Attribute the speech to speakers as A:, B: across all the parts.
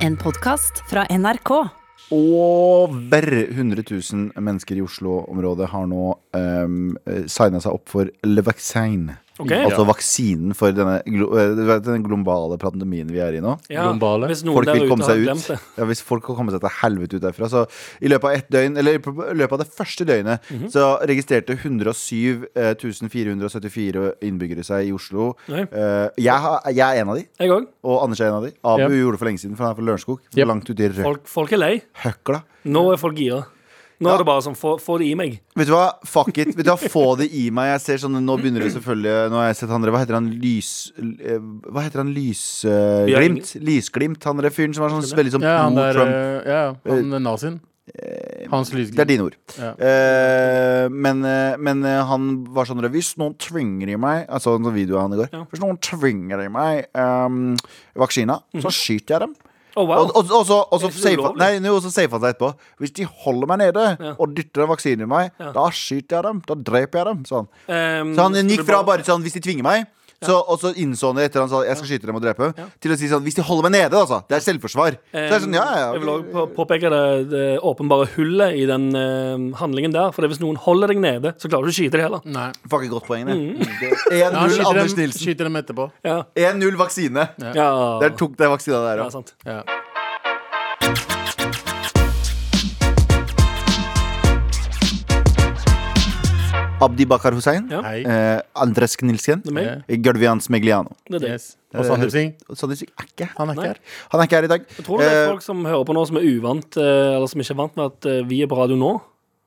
A: En podkast fra NRK.
B: Over 100 000 mennesker i Oslo-området har nå um, signa seg opp for Le Vaccin.
C: Ok.
B: altså vaksinen for denne, glo- eh, du vet, den globale pandemien vi er i nå.
C: Ja,
D: Lombale.
C: hvis noen
B: Folk
C: der
B: vil
C: ute
B: komme
C: har
B: seg
C: glemt
B: ut.
C: det.
B: Ja, hvis folk kan komme seg til helvete ut derfra. Så i løpet av ett døgn, eller i pr- løpet av det første døgnet,
C: Mhm.
B: så registrerte 107 eh, 474 innbyggere seg i Oslo.
C: Nei.
B: Eh, jeg, har, jeg er en av de,
C: Jeg òg.
B: og Anders er en av de. Abu
D: Ja.
B: gjorde det for lenge siden, for han er fra Lørenskog.
D: Yep.
B: Langt ute i rø-
C: Folk, folk er lei.
B: høkla.
C: Nå er folk gira. Nå
B: Ja.
C: er det bare sånn, få, få det i meg.
B: Vet du hva, fuck it. Vet du hva, Få det i meg. Jeg ser sånn, Nå begynner det selvfølgelig Nå har jeg sett han der, Hva heter han? Lys... eh, Hva heter han?
C: Vi har
B: Lysglimt? Lysglimt? Han derre fyren som er sånn veldig sånn
D: Ja, han der
B: pro-Trump.
D: eh, ja, ja, han eh, nazien. Hans
B: eh, Det er
D: lysglimt.
B: dine ord.
D: Ja.
B: Eh, men, eh, men eh, han var sånn Hvis noen tvinger i meg Altså en sånn video av han i går.
C: Ja.
B: Hvis noen tvinger i meg ehm, vaksina, så skyter jeg dem.
C: Å, Mhm. Oh, wow.
B: Og, og, og så, og
C: Det er
B: så
C: ikke så
B: safer
C: ulovlig.
B: han- nei, jo, så safer han seg etterpå. Hvis de holder meg nede
C: Ja.
B: og dytter en vaksine i meg,
C: Ja.
B: da skyter jeg dem. Da dreper jeg dem. Sa han.
C: Ehm,
B: Så han
C: skal
B: gikk
C: du
B: fra bare sånn Hvis de tvinger meg så, og så innså han det etter han sa jeg skal skyte dem og drepe dem, til å si sånn Hvis de holder meg nede, altså. Det er selvforsvar. Så det er sånn, ja, ja,
C: Ehm, Um, Jeg vil
B: ja.
C: også på- påpeke det, det åpenbare hullet i den eh, handlingen der. For hvis noen holder deg nede, så klarer du ikke å skyte dem heller.
D: Nei.
B: Fucking godt poeng, det.
C: Mm.
D: Ja, han
B: 1-0
D: skyter
B: Anders
D: dem,
B: Nilsen.
D: skyter dem etterpå.
B: 1-0 vaksine.
C: Ja. ja.
B: Der tok det vaksina der
C: ja, altså.
B: òg.
C: sant.
D: Ja.
B: Abdi Bakar Hussein.
C: Ja.
D: Hei.
B: Eh, Andres Knilsen.
C: Det er meg.
B: Gørvian Smegliano.
C: Det er det.
D: Yes. Og Sandeep Singh.
B: Sånn er ikke her.
D: Han er
C: Nei.
D: ikke her.
B: Han er ikke her i dag.
C: Jeg tror det er
B: Eh,
C: folk som hører på nå, som er uvant, eh, eller som ikke er vant med at eh, vi er på radio nå.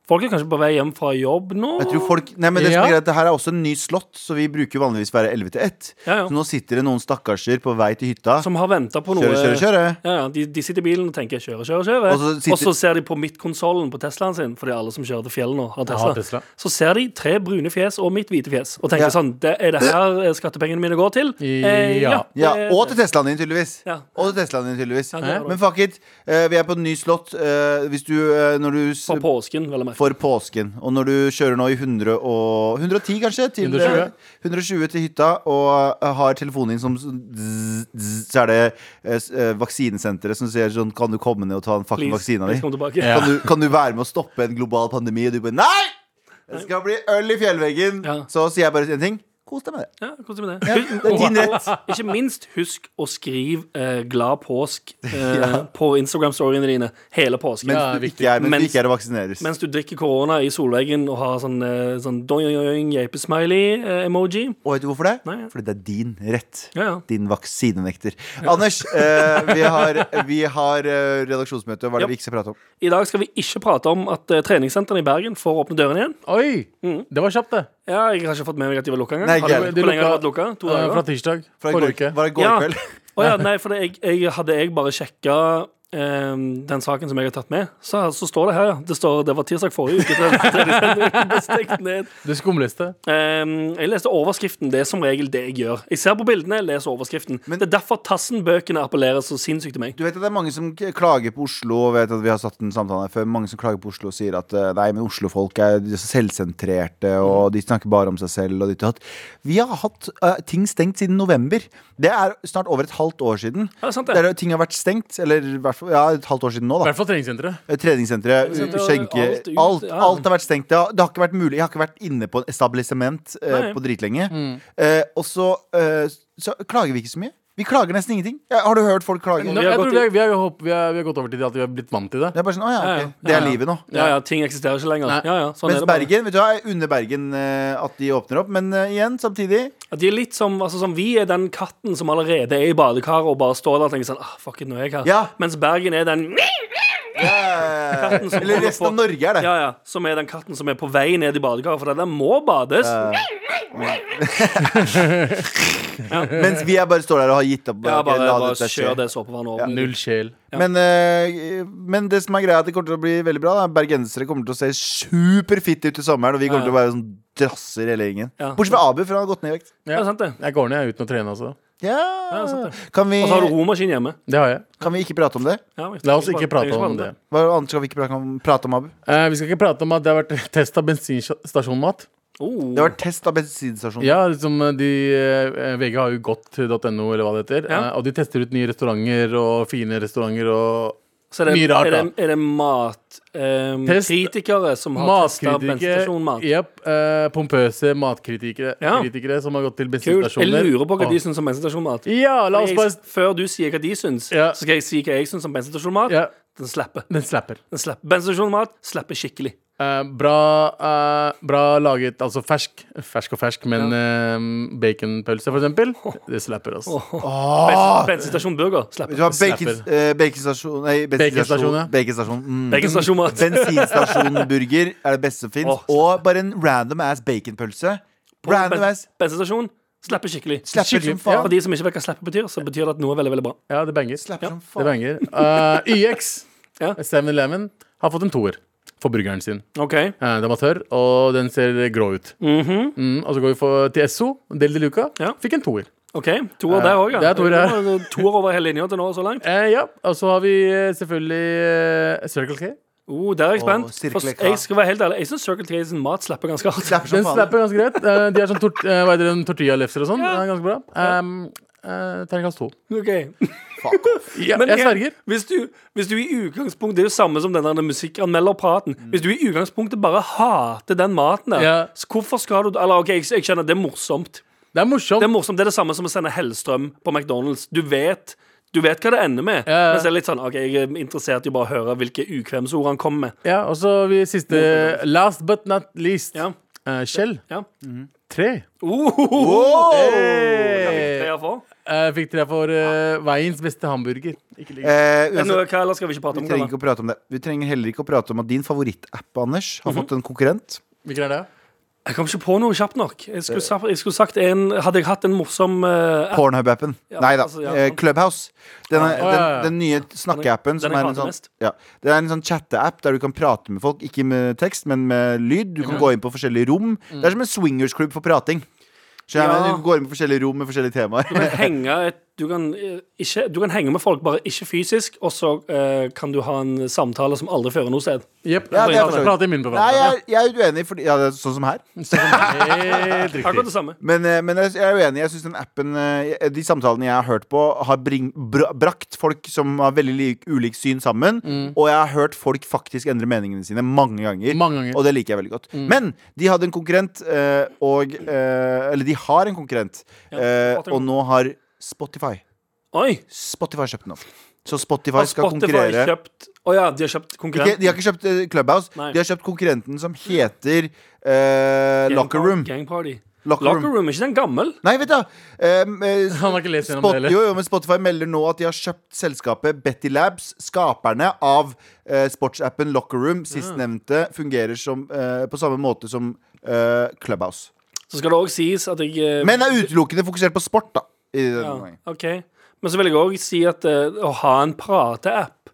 C: Folk er kanskje på vei hjem fra jobb nå.
B: jeg tror folk Nei, men det, som er
D: Ja.
B: greit, det her er også en ny slott, så vi bruker jo vanligvis være 11 til 1.
C: Ja, ja.
B: Så nå sitter det noen stakkarser på vei til hytta.
C: Som har venta på noe.
B: Kjøre, kjøre, kjøre.
C: Ja, ja, de, de sitter i bilen og tenker 'kjøre, kjøre', kjøre. Og
B: Og så
C: så,
B: sitter-
C: ser de på midtkonsollen på Teslaen sin, fordi alle som kjører til fjellet nå, har Tesla.
D: har Tesla.
C: Så ser de tre brune fjes og mitt hvite fjes, og tenker
B: Ja.
C: sånn det, 'Er det her eh, skattepengene mine går til?' Eh,
D: Ja.
B: Ja,
C: det-
B: og til Teslaen din, tydeligvis.
C: Ja.
B: Og til Teslaen din, tydeligvis.
C: Ja, det er det.
B: Men fuck it. eh, vi er på en ny slott. eh, hvis du, eh, når du s-
C: For påsken, vel å merke.
B: for påsken. Og når du kjører nå i 100 og 110, kanskje? Til,
D: 120.
B: 120 til hytta og eh, har telefonen din som s- zzz, zzz, Så er det eh, s- eh, vaksinesenteret som sier sånn Kan du komme ned og ta en fucking vaksina di?
C: please kom tilbake.
D: Ja.
B: Kan, du, kan du være med å stoppe en global pandemi? Og du bare Nei! Det skal bli øl i fjellveggen.
C: Ja.
B: Så sier jeg bare en ting. Kos deg med det.
C: Ja, kos deg med
B: Ja,
C: det. Husk-
B: det er din rett.
C: Ikke minst husk å skrive eh, 'glad påsk' eh, på Instagram-storyene dine hele påsken.
B: Mens,
D: Ja,
B: du,
D: viktig.
B: ikke er, mens du
C: Mens-
B: ikke er og vaksineres.
C: Mens du drikker korona i solveggen og har sånn, eh, sånn doing-doing-geipe-smiley-emoji.
B: Og vet du hvorfor det?
C: Nei, ja.
B: Fordi det er din rett.
C: Ja, ja.
B: Din vaksinenekter. Anders, eh, vi har, vi har eh, redaksjonsmøte. Hva er det
C: Japp.
B: vi ikke skal prate om?
C: I dag skal vi ikke prate om at eh, treningssentrene i Bergen får åpne dørene igjen.
D: Oi! Det var kjapt, det.
C: Ja, Jeg har ikke fått med meg at de var lukka engang.
B: Nei,
C: Har du-
B: ikke
D: De
C: Mm. Hvor lenge har de vært
D: lukka-
C: lukka? To
D: Eh, Fra
C: dager?
D: tirsdag.
B: Fra i
D: Forrige
B: går,
D: uke.
B: var det i går
C: Ja.
B: kveld?
C: Å ja, nei, for det, jeg, jeg, hadde jeg bare sjekka ehm, den saken som jeg har tatt med, så, så står det her, ja. Det står det var tirsdag forrige uke. tre- treningssentrene ble stengt ned.
D: Det skumleste.
C: Ehm, jeg leste overskriften. Det er som regel det jeg gjør. Jeg ser på bildene, jeg leser overskriften.
B: Men-
C: det er derfor Tassen-bøkene appellerer så sinnssykt til meg.
B: Du vet at det er mange som k- klager på Oslo og vet at vi har satt en samtale her før. Mange som klager på Oslo og sier at eh, nei, men Oslo-folk er de er så selvsentrerte og
C: Mm.
B: de snakker bare om seg selv og ditt og datt. Vi har hatt eh, ting stengt siden november. Det er snart over et halvt år siden.
C: Ja, det er sant, det.
B: Der ting har vært stengt. Eller i hvert fall ja, et halvt år siden nå,
D: I
B: da.
D: hvert fall treningssenteret.
B: Eh, Treningssenteret,
C: Treningssenteret,
B: skjenke
C: alt ut,
B: alt,
C: ja.
B: alt har vært stengt. Det har, det har ikke vært mulig. Jeg har ikke vært inne på et etablissement eh,
C: Nei.
B: på dritlenge. Eh, og så, eh, så klager vi ikke så mye. Vi klager nesten ingenting. Ja, har du hørt folk klage?
D: Nå,
C: vi har
D: jeg
C: gått
D: tror vi, har, vi, har, jo hopp- vi, har, vi har gått over til det at vi har blitt vant til det.
B: Det er bare sånn, å ja,
C: Ja, ja.
B: ok. Det
C: Ja,
B: er
C: ja.
B: livet nå.
C: Ja, ja, Ting eksisterer ikke lenger.
D: Nei.
C: Ja, ja, sånn er
B: Mens
C: det bare.
B: Bergen, vet du hva, er under Bergen eh, at de åpner opp. Men eh, igjen, samtidig
C: At de er litt som, altså, som Vi er den katten som allerede er i badekaret og bare står der og tenker sånn ah, Fuck it, nå er jeg her.
B: Ja.
C: Mens Bergen er den
B: eh,
C: som
B: Eller
C: holder
B: resten
C: på.
B: av Norge er det.
C: ja, ja, Som er den katten som er på vei ned i badekaret, for den der må bades.
B: Mens vi er bare står der og har gitt opp. eh,
C: ja,
B: ok,
C: bare,
B: la
C: bare
B: dette skje.
C: kjør det såpevannet over.
D: Null sjel.
B: Men, eh, men det som er greia, er at det kommer til å bli veldig bra. Da. Bergensere kommer til å se superfitte ut i sommeren, og vi kommer
C: Ja,
B: til å være sånn drasser hele gjengen.
C: Ja.
B: Bortsett fra Abu, for han har gått ned i vekt.
C: Ja, sant det.
D: Jeg går ned jeg, uten å trene, altså.
B: Ja.
C: Ja, sant
B: Kan, vi,
C: Og så har du romaskin hjemme.
D: Det har jeg.
B: kan vi ikke prate om det?
C: Ja, jeg
D: La oss
C: tenker
D: ikke
C: bare-
D: prate
C: tenker
D: om
C: bare
D: det.
B: Hva annet skal vi ikke prate om, prate om Abu?
D: Eh, vi skal ikke prate om at det har vært test av bensinstasjonmat.
C: Oh.
B: Det var test av
C: Sånn.
B: bensinstasjonen.
D: Ja, liksom eh, de, eh, VG har jo godt.no, eller hva det heter.
C: Ja.
D: eh, Og de tester ut nye restauranter og fine restauranter og
C: Så er det,
D: Mye rart,
C: er det,
D: da.
C: er det mat ehm,
D: Test-
C: Kritikere som har testa
D: Matkritikere.
C: bensinstasjonmat?
D: Yep, eh, pompøse matkritikere
C: Ja.
D: kritikere som har gått til
C: Kult. Jeg
D: bensinstasjoner.
C: lurer på hva de
D: Å.
C: syns om bensinstasjonmat.
D: Ja, la oss
C: Jeg-
D: bare
C: Før du sier hva de syns,
D: Ja.
C: så skal jeg si hva jeg syns om bensinstasjonmat.
D: ja,
C: Den slapper.
D: Den slapper.
C: Den slapper. Bensinstasjonmat slapper skikkelig.
D: Eh, bra, eh, bra laget, altså fersk. Fersk og fersk, men eh, baconpølse, for eksempel. Det slapper altså. oss.
C: Bens-
B: Ah.
C: Bensinstasjonburger
B: Vet
C: slapper.
B: du hva,
D: Slapper.
B: bacon- eh, Baconstasjon Nei,
D: Baconstasjon, ja.
B: bensinstasjon. Baconstasjon. Mm.
C: Bensinstasjonmat.
B: Bensinstasjonburger er det beste som fins.
C: Åh.
B: Og bare en random ass baconpølse. Random ass
C: Bensinstasjon slapper skikkelig.
B: Slapper
D: Skikkelig.
B: som
C: Ja, for
B: faen.
C: de som ikke vet hva slapper betyr, så betyr det at noe er veldig, veldig bra.
D: Ja, det banger.
B: Slapper som
D: Det
B: faen.
D: banger. Eh, YX,
C: Ja.
D: 7-Eleven, har fått en toer for burgeren sin.
C: OK.
D: Eh, den var tørr, og den ser grå ut.
C: Mhm.
D: Mm, og så går vi for, til Esso, Del de Luca.
C: Ja.
D: Fikk en toer.
C: Ok, Toer der òg, ja.
D: Det er toer her.
C: Det var Toer over hele linja til nå, så langt.
D: Eh, ja, og så har vi eh, selvfølgelig eh, Circle K.
C: Oh, der er jeg
B: Åh,
C: spent.
B: Circle
C: For
B: K.
C: jeg skal være helt ærlig Jeg syns Circle K sin mat slapper ganske hardt.
B: Slapper
D: Den
B: som faen.
D: slapper ganske greit. Eh, de er sånn tort, eh, hva heter det, tortillalefser og sånn. Eh, Ganske bra. Um, eh, Terningkast to.
C: Ok
B: Fuck off.
D: Ja,
C: Men
D: jeg
C: jeg-
D: sverger.
C: Hvis du, hvis du i utgangspunktet Det er jo samme som den der musikkanmelderpraten. Hvis du i utgangspunktet bare hater den maten der,
D: Ja.
C: så hvorfor skal du Eller ok, jeg, jeg skjønner, det er morsomt.
D: Det er morsomt.
C: Det er morsomt, det er det samme som å sende Hellstrøm på McDonald's. Du vet du vet hva det ender med.
D: Ja, ja.
C: Men så er det litt sånn, ok, jeg er interessert i å bare høre hvilke ukvemsord han kommer med.
D: Ja, og så vi siste Last but not least.
C: Ja.
D: Eh, Shell.
C: Ja.
D: Tre.
C: Oh!
D: Hey.
C: Hva er
D: Eh, fikk tre for eh, veiens beste hamburger. Ikke like.
B: Eh,
C: det noe-
B: uansett,
C: Hva ellers skal vi ikke prate
B: vi
C: om?
B: trenger
C: Kalle?
B: ikke å prate om det. Vi trenger heller ikke å prate om at din favorittapp, Anders, har fått en konkurrent.
D: Hvilken er det?
C: Jeg kom ikke på noe kjapt nok. Jeg skulle, sa- jeg skulle sagt en, Hadde jeg hatt en morsom eh,
B: Pornhub-appen.
C: Ja,
B: Nei da.
C: altså, ja,
B: eh,
C: sant.
B: Clubhouse. Den, er,
D: Å, ja, ja.
B: den, den nye snakkeappen.
C: Den jeg
B: som er en
C: hater
B: sånn,
C: mest.
B: ja. Det er en sånn chatteapp der du kan prate med folk. Ikke med tekst, men med lyd. Du kan gå inn på forskjellige rom. Det er som en swingers club for prating. Skjønner jeg,
C: Ja.
B: men Du går inn på forskjellige rom med forskjellige temaer.
C: kan henge et, du, kan, eh, ikke, du kan henge med folk, bare ikke fysisk, og så eh, kan du ha en samtale som aldri fører noe sted.
D: Jepp.
B: Ja, det er for så
D: prate,
B: vidt.
D: prate i munnen på
B: Nei,
D: hverandre.
B: jeg, er- jeg er uenig, fordi ja, det er sånn som her.
D: Ja. Helt
C: Akkurat
D: riktig.
C: det samme.
B: Men, eh, men jeg jeg er uenig. Jeg synes den appen eh, De samtalene jeg har hørt på, har bring, bra, brakt folk som har veldig lik, ulikt syn sammen.
C: Mm.
B: Og jeg har hørt folk faktisk endre meningene sine mange ganger.
D: Mange ganger.
B: Og det liker jeg veldig godt.
C: Mm.
B: Men de hadde en konkurrent, eh, og eh, Eller de har en konkurrent,
C: Ja,
B: eh,
C: prater om-
B: og nå har Spotify
C: Oi!
B: Spotify kjøpt den opp. Så Spotify
C: Har
B: skal
C: Spotify
B: konkurrere.
C: kjøpt Å ja, de har kjøpt
B: Ikke,
C: konkurrenten.
B: de har ikke kjøpt eh, Clubhouse,
C: Nei.
B: de har kjøpt konkurrenten som heter eh,
C: Gang-
B: Locker Room.
C: Gang Party.
B: Locker Room.
C: Locker Room, er ikke den gammel?
B: Nei, vet du um,
D: Han har ikke lest gjennom
B: Spot,
D: det heller.
B: jo, jo, men Spotify melder nå at de har kjøpt selskapet Betty Labs, skaperne av eh, sportsappen
C: Ah.
B: Lockerroom. Sistnevnte fungerer som, eh, på samme måte som eh, Clubhouse.
C: Så skal det òg sies at jeg eh,
B: Men er utelukkende fokusert på sport, da. I denne
C: ja,
B: gangen.
C: OK. Men så vil jeg òg si at eh, å ha en prateapp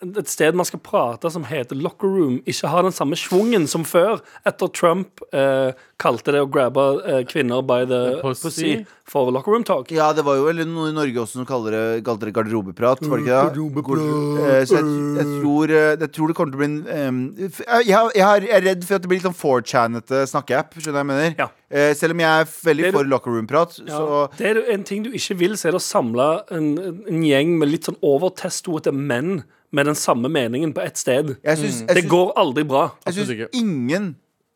C: et sted man skal prate som heter Locker Room, ikke har den samme schwungen som før, etter Trump eh, kalte det å grabbe eh, kvinner by the
D: Pussy.
C: pussy. for Locker Room Talk.
B: ja, det var jo vel noe i Norge også som kaller det, kalte det garderobeprat, var det ikke det? Garderobeprat. Eh, Så jeg, jeg, tror, eh, jeg tror det kommer til å bli en eh, f- jeg, har- jeg, har- jeg er redd for at det blir litt sånn 4chan-ete snakkeapp, skjønner du hva jeg mener?
C: Ja.
B: Eh, Selv om jeg er veldig
C: Det er-
B: for lockerroom-prat, så
C: Ja, det er jo en ting du ikke vil, så er det å samle en, en gjeng med litt sånn overtestoete menn med den samme meningen på ett sted.
B: Jeg syns, jeg
C: Det
B: syns,
C: går aldri bra.
B: jeg syns
D: Absolutt ikke.
B: ingen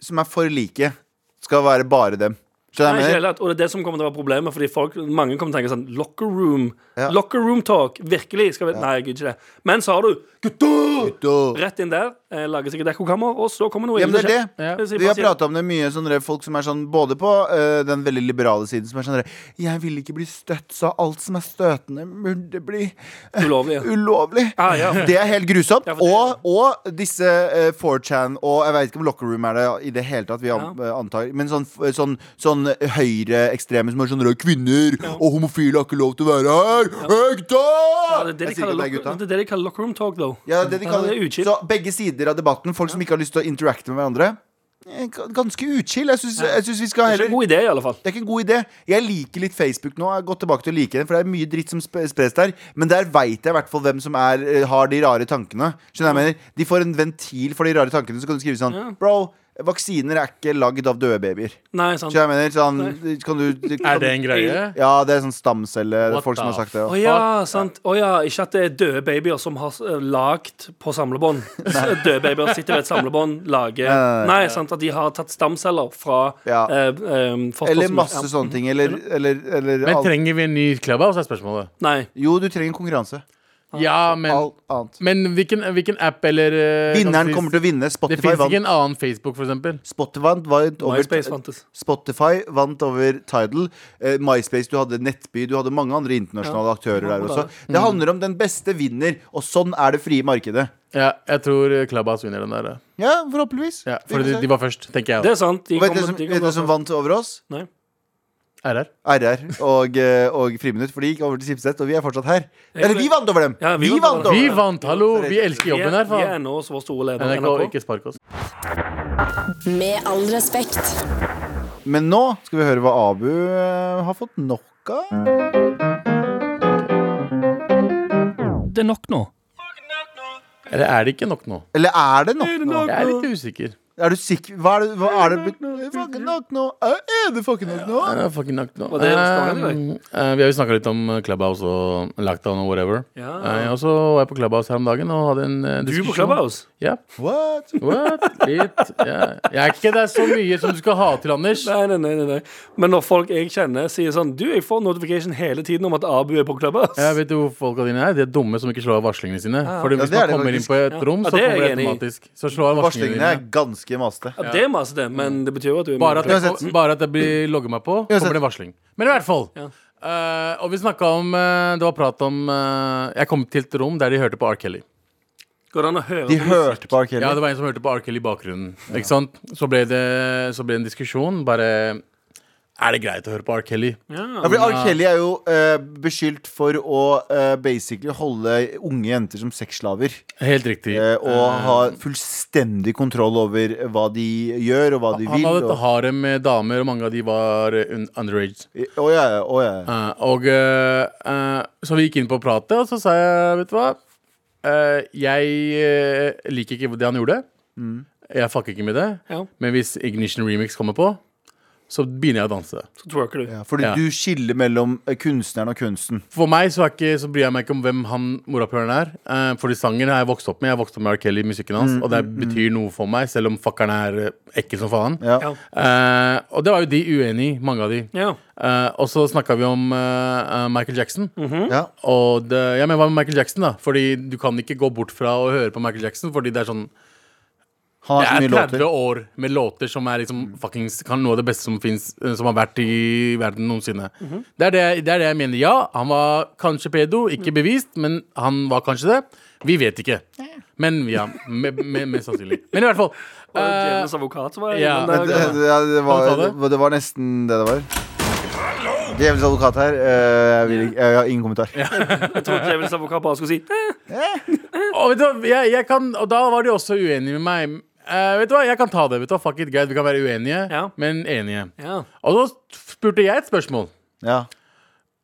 B: som er for like, skal være bare dem. Skjønner
C: Nei,
B: du hva
C: ikke
B: jeg mener?
C: heller, og det er det som kommer til å være problemet, fordi folk, mange kommer til å tenke sånn Locker room.
B: Ja.
C: Locker room talk. Virkelig. Skal vi Nei, jeg gidder ikke det. Men så har du gutter
B: Gutter!
C: rett inn der, eh, lager sikkert ekkokammer, og så kommer noe
B: Ja, men det er
C: ille
B: det.
D: Ja.
C: skje- eh,
B: Vi har prata om det mye, sånne folk som er sånn både på øh, den veldig liberale siden, som er sånn der, Jeg vil ikke bli støtt, så alt som er støtende, burde bli
C: Ulovlig. ja.
B: ulovlig.
C: Ah, ja.
B: Det er helt grusomt.
C: Ja, for det-
B: Og, og disse eh, 4chan og jeg vet ikke om locker room er det i det hele tatt, vi an, eh, antar, men sånn, sånn, sånn høyreekstreme som er sånn «Røde Kvinner og homofile har ikke lov til å være her! Hei, gutta!
C: Ja, det, er det,
B: Jeg
C: de
B: sier
C: kaller
B: ikke at det er
C: locker,
B: gutta.
C: det er det de kaller locker room talk, though.
B: Ja, det er det de
C: Ja,
B: kaller
C: det er uchill.
B: Så begge sider av debatten, folk som ikke har lyst til å interacte med hverandre. eh, ga- Ganske uchill. Jeg syns jeg syns vi skal
C: Det er ikke en
B: heller
C: god idé, i alle fall.
B: det er ikke en god idé. Jeg liker litt Facebook nå. Jeg har gått tilbake til å like den, for det er mye dritt som sp- spres der. Men der veit jeg i hvert fall hvem som eh, er, har de rare tankene. Skjønner du hva jeg mener? De får en ventil for de rare tankene, så kan du skrive sånn Bro, Vaksiner er ikke lagd av døde babyer.
C: Nei, sant.
B: Så jeg mener, sånn kan du, kan,
D: Er det en greie?
B: Ja, det er sånn stamcelle. Det
D: What
B: er folk som har
D: the
B: sagt det.
C: Å
B: også.
C: ja, sant. Å ja, ikke at det er døde babyer som har eh, lagd på samlebånd. døde babyer sitter ved et samlebånd, lager
B: Nei, nei,
C: Nei, sant, at de har tatt stamceller fra
B: Ja.
C: eh, eh, foster
B: Eller
C: som-
B: masse
C: ja.
B: sånne ting. Eller, eller, eller
D: Men
B: alt.
D: trenger vi en ny Clubhouse, er spørsmålet.
C: Nei.
B: Jo, du trenger konkurranse.
D: Ja, men,
B: Alt annet.
D: men hvilken, hvilken app eller eh, kan
B: Vinneren
D: vi-
B: kommer til å vinne.
D: Det
B: Spotify
D: fins ikke
B: vant.
D: en annen Facebook, for eksempel.
B: Spotify vant
C: MySpace
B: over
C: fantes.
B: Spotify vant over Tidal. Eh, MySpace, du hadde Nettby, du hadde mange andre internasjonale aktører der også. Det Mm. handler om den beste vinner, og sånn er det frie markedet.
D: Ja, jeg tror eh, Clubhouse vinner den der. eh.
B: Ja, forhåpentligvis.
D: Ja,
B: Vi får
D: fordi de,
B: se.
D: de var først, tenker jeg.
C: Det er sant. De
B: Og vet
C: kommer-
B: dere som,
C: de
B: vet
C: kommer-
B: dere som vant over oss?
C: Nei.
D: RR.
B: RR og, eh, og Friminutt, for de gikk over til Schibsted, og vi er fortsatt her. Eller vi vant over dem!
C: Ja,
B: vi, vant over
D: Vi
B: dem.
D: vant, hallo! Vi elsker
C: Vi er,
D: jobben her,
C: vi er
D: faen.
C: ennå vår store leder.
D: NRK,
C: NRK.
D: ikke spark oss.
A: Med all respekt.
B: Men nå skal vi høre hva Abu eh, har fått nok av.
E: Det er nok nå.
D: Eller er det ikke nok nå?
B: Eller er det nok nå?
D: Jeg er litt usikker.
B: Er du sikker? Hva er det, hva er det blitt Fucking nok nå? Er det fucking nok nå?
D: Nei, det er fucking knocked nå.
C: Var det restauranten i dag?
D: Um, eh, vi har jo snakka litt om eh, Clubhouse og lockdown og whatever.
C: Ja.
D: Eh, og så var jeg på Clubhouse her om dagen og hadde en eh,
C: Du
D: diskusjon.
C: på Clubhouse?
D: Ja.
B: What?
D: What? Litt. Ja. Jeg er ikke der så mye som du skal ha til, Anders.
C: Nei, nei, nei, nei, nei. Men når folk jeg kjenner, sier sånn Du, jeg får notification hele tiden om at Abu er på Clubhouse.
D: Jeg vet jo hvor folka dine er. De er dumme som ikke slår av varslingene sine. Fordi
B: Ja,
D: hvis
B: det er
D: man
B: det
D: kommer inn
B: faktisk.
D: på et rom,
C: Ja,
D: så
C: det er jeg
D: kommer det
C: enig i.
D: automatisk. Så slår varslingene
B: Varslingene
D: dine.
B: er ganske masete.
C: Ja, det er masse det, men det betyr jo at du er
D: Bare at,
C: med.
D: jeg, bare at jeg blir logget meg på,
B: Uansett.
D: kommer det varsling. Men i hvert fall.
C: Ja.
D: eh, og vi snakka om eh, Det var prat om eh, Jeg kom til et rom der de hørte på R. Kelly.
C: Går det an å høre
B: De
C: på musikk?
B: hørte på R.
D: Ja,
B: Kelly.
D: det var en som hørte på R. Kelly i bakgrunnen. Ikke sant? Så ble, det, så ble det en diskusjon. Bare Er det greit å høre på R. Kelly?
B: Ja, for R. Kelly er jo eh, beskyldt for å eh, basically holde unge jenter som sexslaver.
D: Helt riktig.
B: eh, og ha fullstendig kontroll over hva de gjør, og hva de
D: Han
B: vil.
D: hadde
B: Og,
D: et harem med damer, og mange av de var eh, un- underage.
B: Å, ja, ja, å, ja.
D: Eh, og eh, eh, Så vi gikk inn på pratet, og så sa jeg, vet du hva Eh, Jeg eh, liker ikke det han gjorde.
B: Mm.
D: Jeg fucker ikke med det.
C: Ja.
D: Men hvis Ignition Remix kommer på, så begynner jeg å danse.
C: Så twerker du.
B: Ja, fordi
D: Ja.
B: du skiller mellom eh, kunstneren og kunsten.
D: For meg så, er ikke, så bryr jeg meg ikke om hvem han morapuleren er. Eh, fordi sangen har jeg vokst opp med. Jeg har vokst opp med R. Kelly, musikken hans.
B: Mm,
D: og det betyr noe for meg, selv om fuckeren er eh, ekkel som faen.
B: Ja.
C: Ja.
D: Eh, og det var jo de uenig i, mange av de.
C: Ja.
D: Eh, og så snakka vi om eh, eh, Michael Jackson.
B: Ja.
D: Og det, ja, men hva med Michael Jackson, da? Fordi du kan ikke gå bort fra å høre på Michael Jackson, fordi det er sånn
B: Han har så
D: det
B: mye
D: er 30
B: låter.
D: år med låter som er liksom fuckings Kan noe av det beste som finnes eh, Som har vært i verden noensinne. det, er det, jeg- det er det jeg mener. Ja, han var kanskje pedo, ikke bevist, men han var kanskje det. Vi vet ikke. Men ja, me, me, mest sannsynlig. Men i hvert fall.
C: Og
D: eh,
C: Djevelens advokat var jeg.
D: ja.
C: innom
B: Det,
C: der.
B: det, ja, det, var,
D: Kan du ta
B: det var nesten det det var. Djevelens advokat her. eh, jeg, vil, ikke- jeg har ingen kommentar.
C: Jeg trodde Djevelens advokat bare skulle si eh,
D: og, vet du, hva, jeg, jeg kan, og da var de også uenige med meg. Eh, vet du hva, Jeg kan ta det. vet du hva, Fuck it, greit, Vi kan være uenige,
C: Ja.
D: men enige.
C: Ja.
D: Og så spurte jeg et spørsmål.
B: Ja.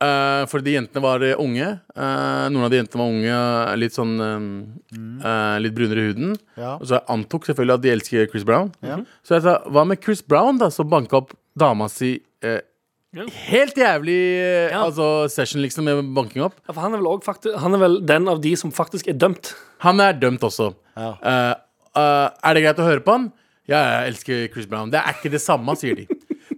D: Eh, fordi jentene var eh, unge. Eh, noen av de jentene var unge, eh, litt sånn eh, eh, Litt brunere i huden.
B: Ja.
D: Og så jeg antok selvfølgelig at de elsker Chris Brown.
B: Ja.
D: Så jeg sa hva med Chris Brown, da, som banka opp dama si eh,
C: Ja.
D: Helt jævlig eh,
C: Ja.
D: altså session, liksom, med banking opp.
C: ja, For han er vel også fakti- Han er vel den av de som faktisk er dømt.
D: Han er dømt også.
B: Ja.
D: Eh, eh, er det greit å høre på han? Ja, jeg elsker Chris Brown. Det er ikke det samme, sier de.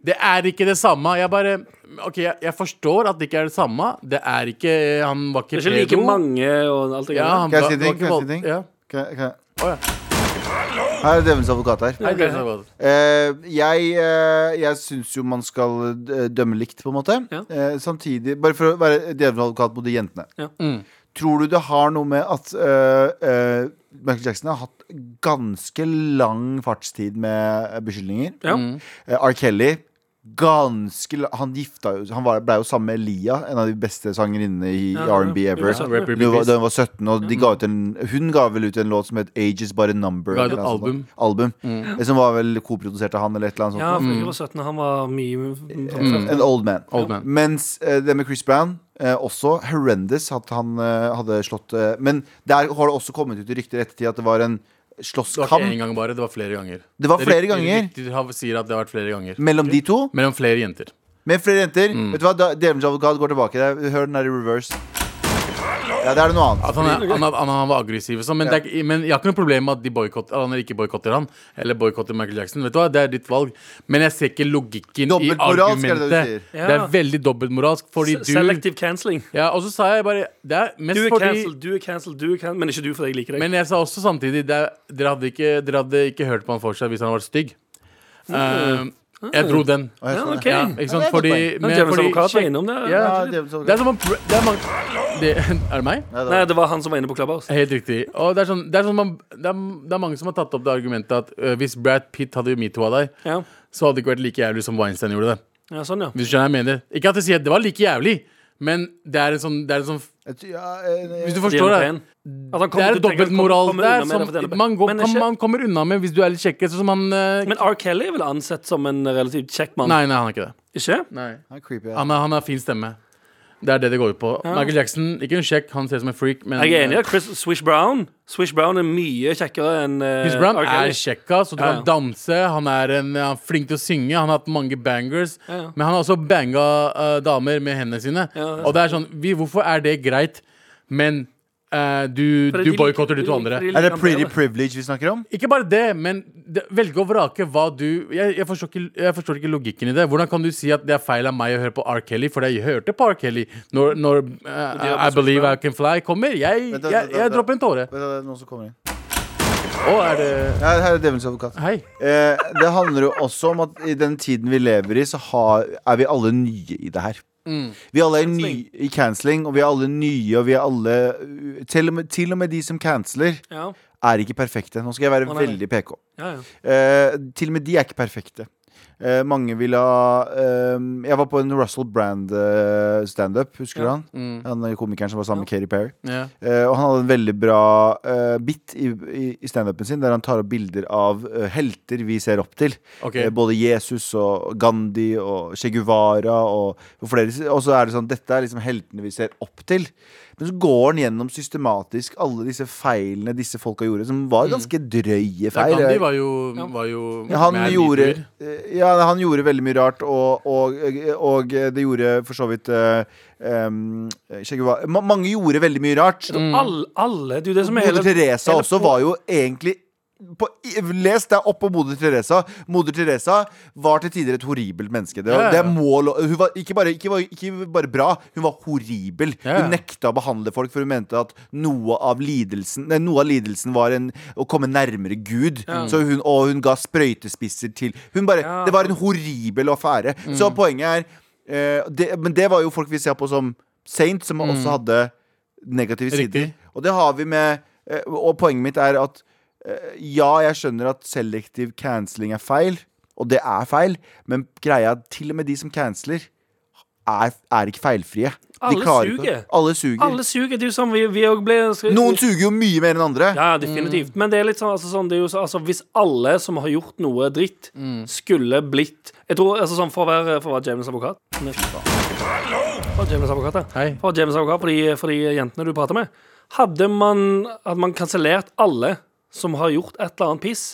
D: Det er ikke det samme. Jeg bare OK, jeg, jeg forstår at det ikke er det samme. Det er ikke Han var ikke
C: Det er ikke like mange og alt det
D: Ja,
C: greia.
D: han
B: Kan jeg
D: ba-
B: si ting?
D: var ikke
B: Kan jeg si
D: vold-
B: ting?
D: Ja.
B: Kan, jeg- kan. jeg-
D: Å, ja.
B: Her er djevelens advokat her.
D: Nei, det er vold.
B: Eh, jeg uh, jeg syns jo man skal eh, dømme likt, på en måte.
C: Ja.
B: Eh, samtidig Bare for å være djevelens advokat mot de jentene.
C: Ja.
D: Mm.
B: Tror du det har noe med at eh, eh, Michael Jackson har hatt ganske lang fartstid med eh, beskyldninger?
C: Ja.
D: Mm.
B: Eh, R. Kelly ganske la- Han gifta jo Han var- ble jo sammen med Lia, en av de beste sangerinnene i
C: Ja,
B: R&B
C: ja.
B: ever.
C: Ja.
D: Rap in
B: Hun var,
D: peace.
B: da hun var 17, og de ga ut en, hun ga vel ut en låt som het 'Age Is But A Number'.
D: Ga ut
B: eller noe
D: et
B: sånt.
D: album. Mm.
B: album. Eh, Som var vel koprodusert av han, eller et eller annet
C: Ja,
B: sånt.
C: for jeg var 17, han var mye
B: Mm. En- En old man.
D: Old man.
B: Mens eh, det med Chris Brown eh, også horrendous at han eh, hadde slått eh, Men der har det også kommet ut i rykter i ettertid at det var en
D: Det var ikke
B: slåsskamp
D: én gang bare, det var flere ganger.
B: Det var flere
D: riktig-
B: ganger?
D: Riktig, han sier at det har vært flere ganger.
B: mellom de to.
D: Mellom flere jenter.
B: Med flere jenter. Vet du hva, Da- Djevelens advokat går tilbake. der. Hør den der i reverse. Ja, det er det noe annet.
D: At han, er, han, er- han, han var aggressiv og sånn, men, det er ikke- men jeg har ikke noe problem med at de boykotter, eller ikke boikotter han. Eller boikotter Michael Jackson. Vet du hva, Det er ditt valg. Men jeg ser ikke logikken i
B: Dobbeltmoralsk er det det du
D: argumentet. Det,
B: sier.
D: er veldig dobbeltmoralsk, fordi du
C: Selective cancelling.
D: Ja, og så sa jeg bare Det er mest
C: Du er
D: fordi
C: cancelled, du er cancelled, du er cancelled. Men ikke du, fordi jeg liker deg.
D: Men jeg sa også samtidig det, er- dere, hadde ikke, dere hadde ikke hørt på han for seg hvis han hadde vært stygg.
C: Mm. Ah.
D: Eh, jeg dro den.
B: Å, jeg
C: ja,
B: skjønner.
C: ok.
D: Ja,
B: Ja, det
D: ikke sant?
B: er et godt
D: Fordi,
B: poeng.
D: men-
C: Djevelens
D: fordi-
C: advokat var innom det.
D: Ja,
B: Ja,
C: det,
B: Djevelens
D: Det er
B: advokat.
D: som om pr- det er, mange, det, er det meg?
B: Ja, det
C: Nei,
B: var-
C: det var han som var inne på Clubhouse.
D: Helt riktig. Og det er, sånn, det, er sånn man, det, er, det er mange som har tatt opp det argumentet at øh, hvis Brad Pitt hadde metoo av deg,
C: Ja,
D: så hadde det ikke vært like jævlig som Weinstein gjorde det.
C: ja sånn, ja.
D: Hvis du skjønner hva jeg mener Ikke at jeg sier at det var like jævlig, men det er en sånn, det er en sånn
B: Et- ja, eh,
D: Hvis
C: De
D: du
C: er
D: forstår det?
C: pen. At han
D: Det
C: kommer til å tenke
D: er
C: at han kommer-
D: dobbeltmoral
C: kommer
D: der
C: unna med
D: som
C: det, for det er
D: man, går,
C: pen. Men
D: kan,
C: ikke-
D: man kommer unna med hvis du er litt kjekk. Sånn som han øh,
C: Men R. Kelly er vel ansett som en relativt kjekk mann?
D: Nei, nei, han er ikke det.
C: Ikke?
B: han er creepy, ja.
D: Han, er, han har fin stemme. Det er det det går ut på. Michael Jackson, ikke noen kjekk, han ser ut som en freak, men eh,
C: Jeg er enig. i at Chris Swish Brown Swish Brown er mye kjekkere enn uh,
D: Chris Brown er kjekka, så du
C: Ja, ja.
D: kan danse. Han er, en, han er flink til å synge. Han har hatt mange bangers.
C: Ja, ja.
D: Men han har også banga eh, damer med hendene sine.
C: Ja, det er
D: og det er sånn vi, Hvorfor er det greit, men eh, du, du boikotter de to andre?
B: Er det pretty privilege vi snakker om?
D: Ikke bare det, men det, velge og vrake hva du jeg, jeg, forstår ikke, jeg forstår ikke logikken i det. Hvordan kan du si at det er feil av meg å høre på R. Kelly? For jeg hørte på R. Kelly når, når eh, I Believe I Can Fly kommer. Jeg,
B: Vent, vent,
D: jeg,
B: vent,
D: jeg
B: vent.
D: dropper en tåre.
B: Vet du, det er noen som kommer inn.
D: Å, er det
B: Ja, her er Djevelens advokat.
D: Hei.
B: Eh, det handler jo også om at i den tiden vi lever i, så har, er vi alle nye i det her. Vi alle er nye i canceling, og vi er alle nye, og vi er alle uh, Til og med, til og med de som canceler,
C: Ja,
B: er ikke perfekte. Nå skal jeg være
C: Å, nei.
B: veldig PK.
C: ja, ja.
B: Eh, til og med de er ikke perfekte. Eh, mange vil ha eh, Jeg var på en Russell Brand eh, standup, husker du
C: Ja.
B: han? Han er komikeren som var sammen med Katy Perry.
D: Mm. Ja.
B: Eh, og han hadde en veldig bra eh, bit i, i, i standupen sin, der han tar opp bilder av eh, helter vi ser opp til.
D: Ok.
B: Eh, både Jesus og Gandhi og Che Guevara og, og flere. Og så er det sånn, dette er liksom heltene vi ser opp til. Men så går han gjennom systematisk alle disse feilene disse folka gjorde, som var ganske drøye
D: Mm. Ja,
B: feil.
D: Gandhi var jo, var jo
B: Han
D: med
B: gjorde,
D: livmor.
B: eh, ja, han gjorde veldig mye rart, og, og, og eh, det gjorde for så vidt eh, em, Che Guevara Ma Mange gjorde veldig mye rart.
D: Mm.
C: Alle, alle Det er jo det som er
B: Moder
C: hele
B: Teresa
C: hele
B: også
C: po-
B: var jo egentlig på, i- Les deg opp på Moder Teresa. Moder Teresa var til tider et horribelt menneske. Det,
D: Ja, ja.
B: det må lo- hun var ikke bare, ikke, var, ikke bare bra, hun var horribel.
D: Ja, ja.
B: Hun nekta å behandle folk, for hun mente at noe av lidelsen nei, Noe av lidelsen var en, å komme nærmere Gud. Så hun, og hun ga sprøytespisser til Hun bare
C: Ja. Mm.
B: Det var en horribel affære. Så poenget er eh, det, Men det var jo folk vi ser på som Saint, som
C: Mm.
B: også hadde negative sider.
D: Riktig.
B: Og det har vi med eh, Og poenget mitt er at eh, ja, jeg skjønner at selektiv canceling er feil, og det er feil, men greia er at til og med de som canceler, er, er ikke feilfrie. De
C: Alle
B: klarer ikke-
C: suger.
B: Alle suger.
C: Alle suger. Det er jo sånn vi, vi også ble
B: Noen suger jo mye mer enn andre.
C: Ja, ja, definitivt. Men det er litt sånn, altså, sånn det er jo så, altså, hvis alle som har gjort noe dritt, skulle blitt Jeg tror, altså sånn For å være, for å være James advokat Nei, fy faen. For å være James advokat, ja.
D: Hei.
C: For å være James advokat for de, for de jentene du prater med. Hadde man, hadde man kansellert alle som har gjort et eller annet piss,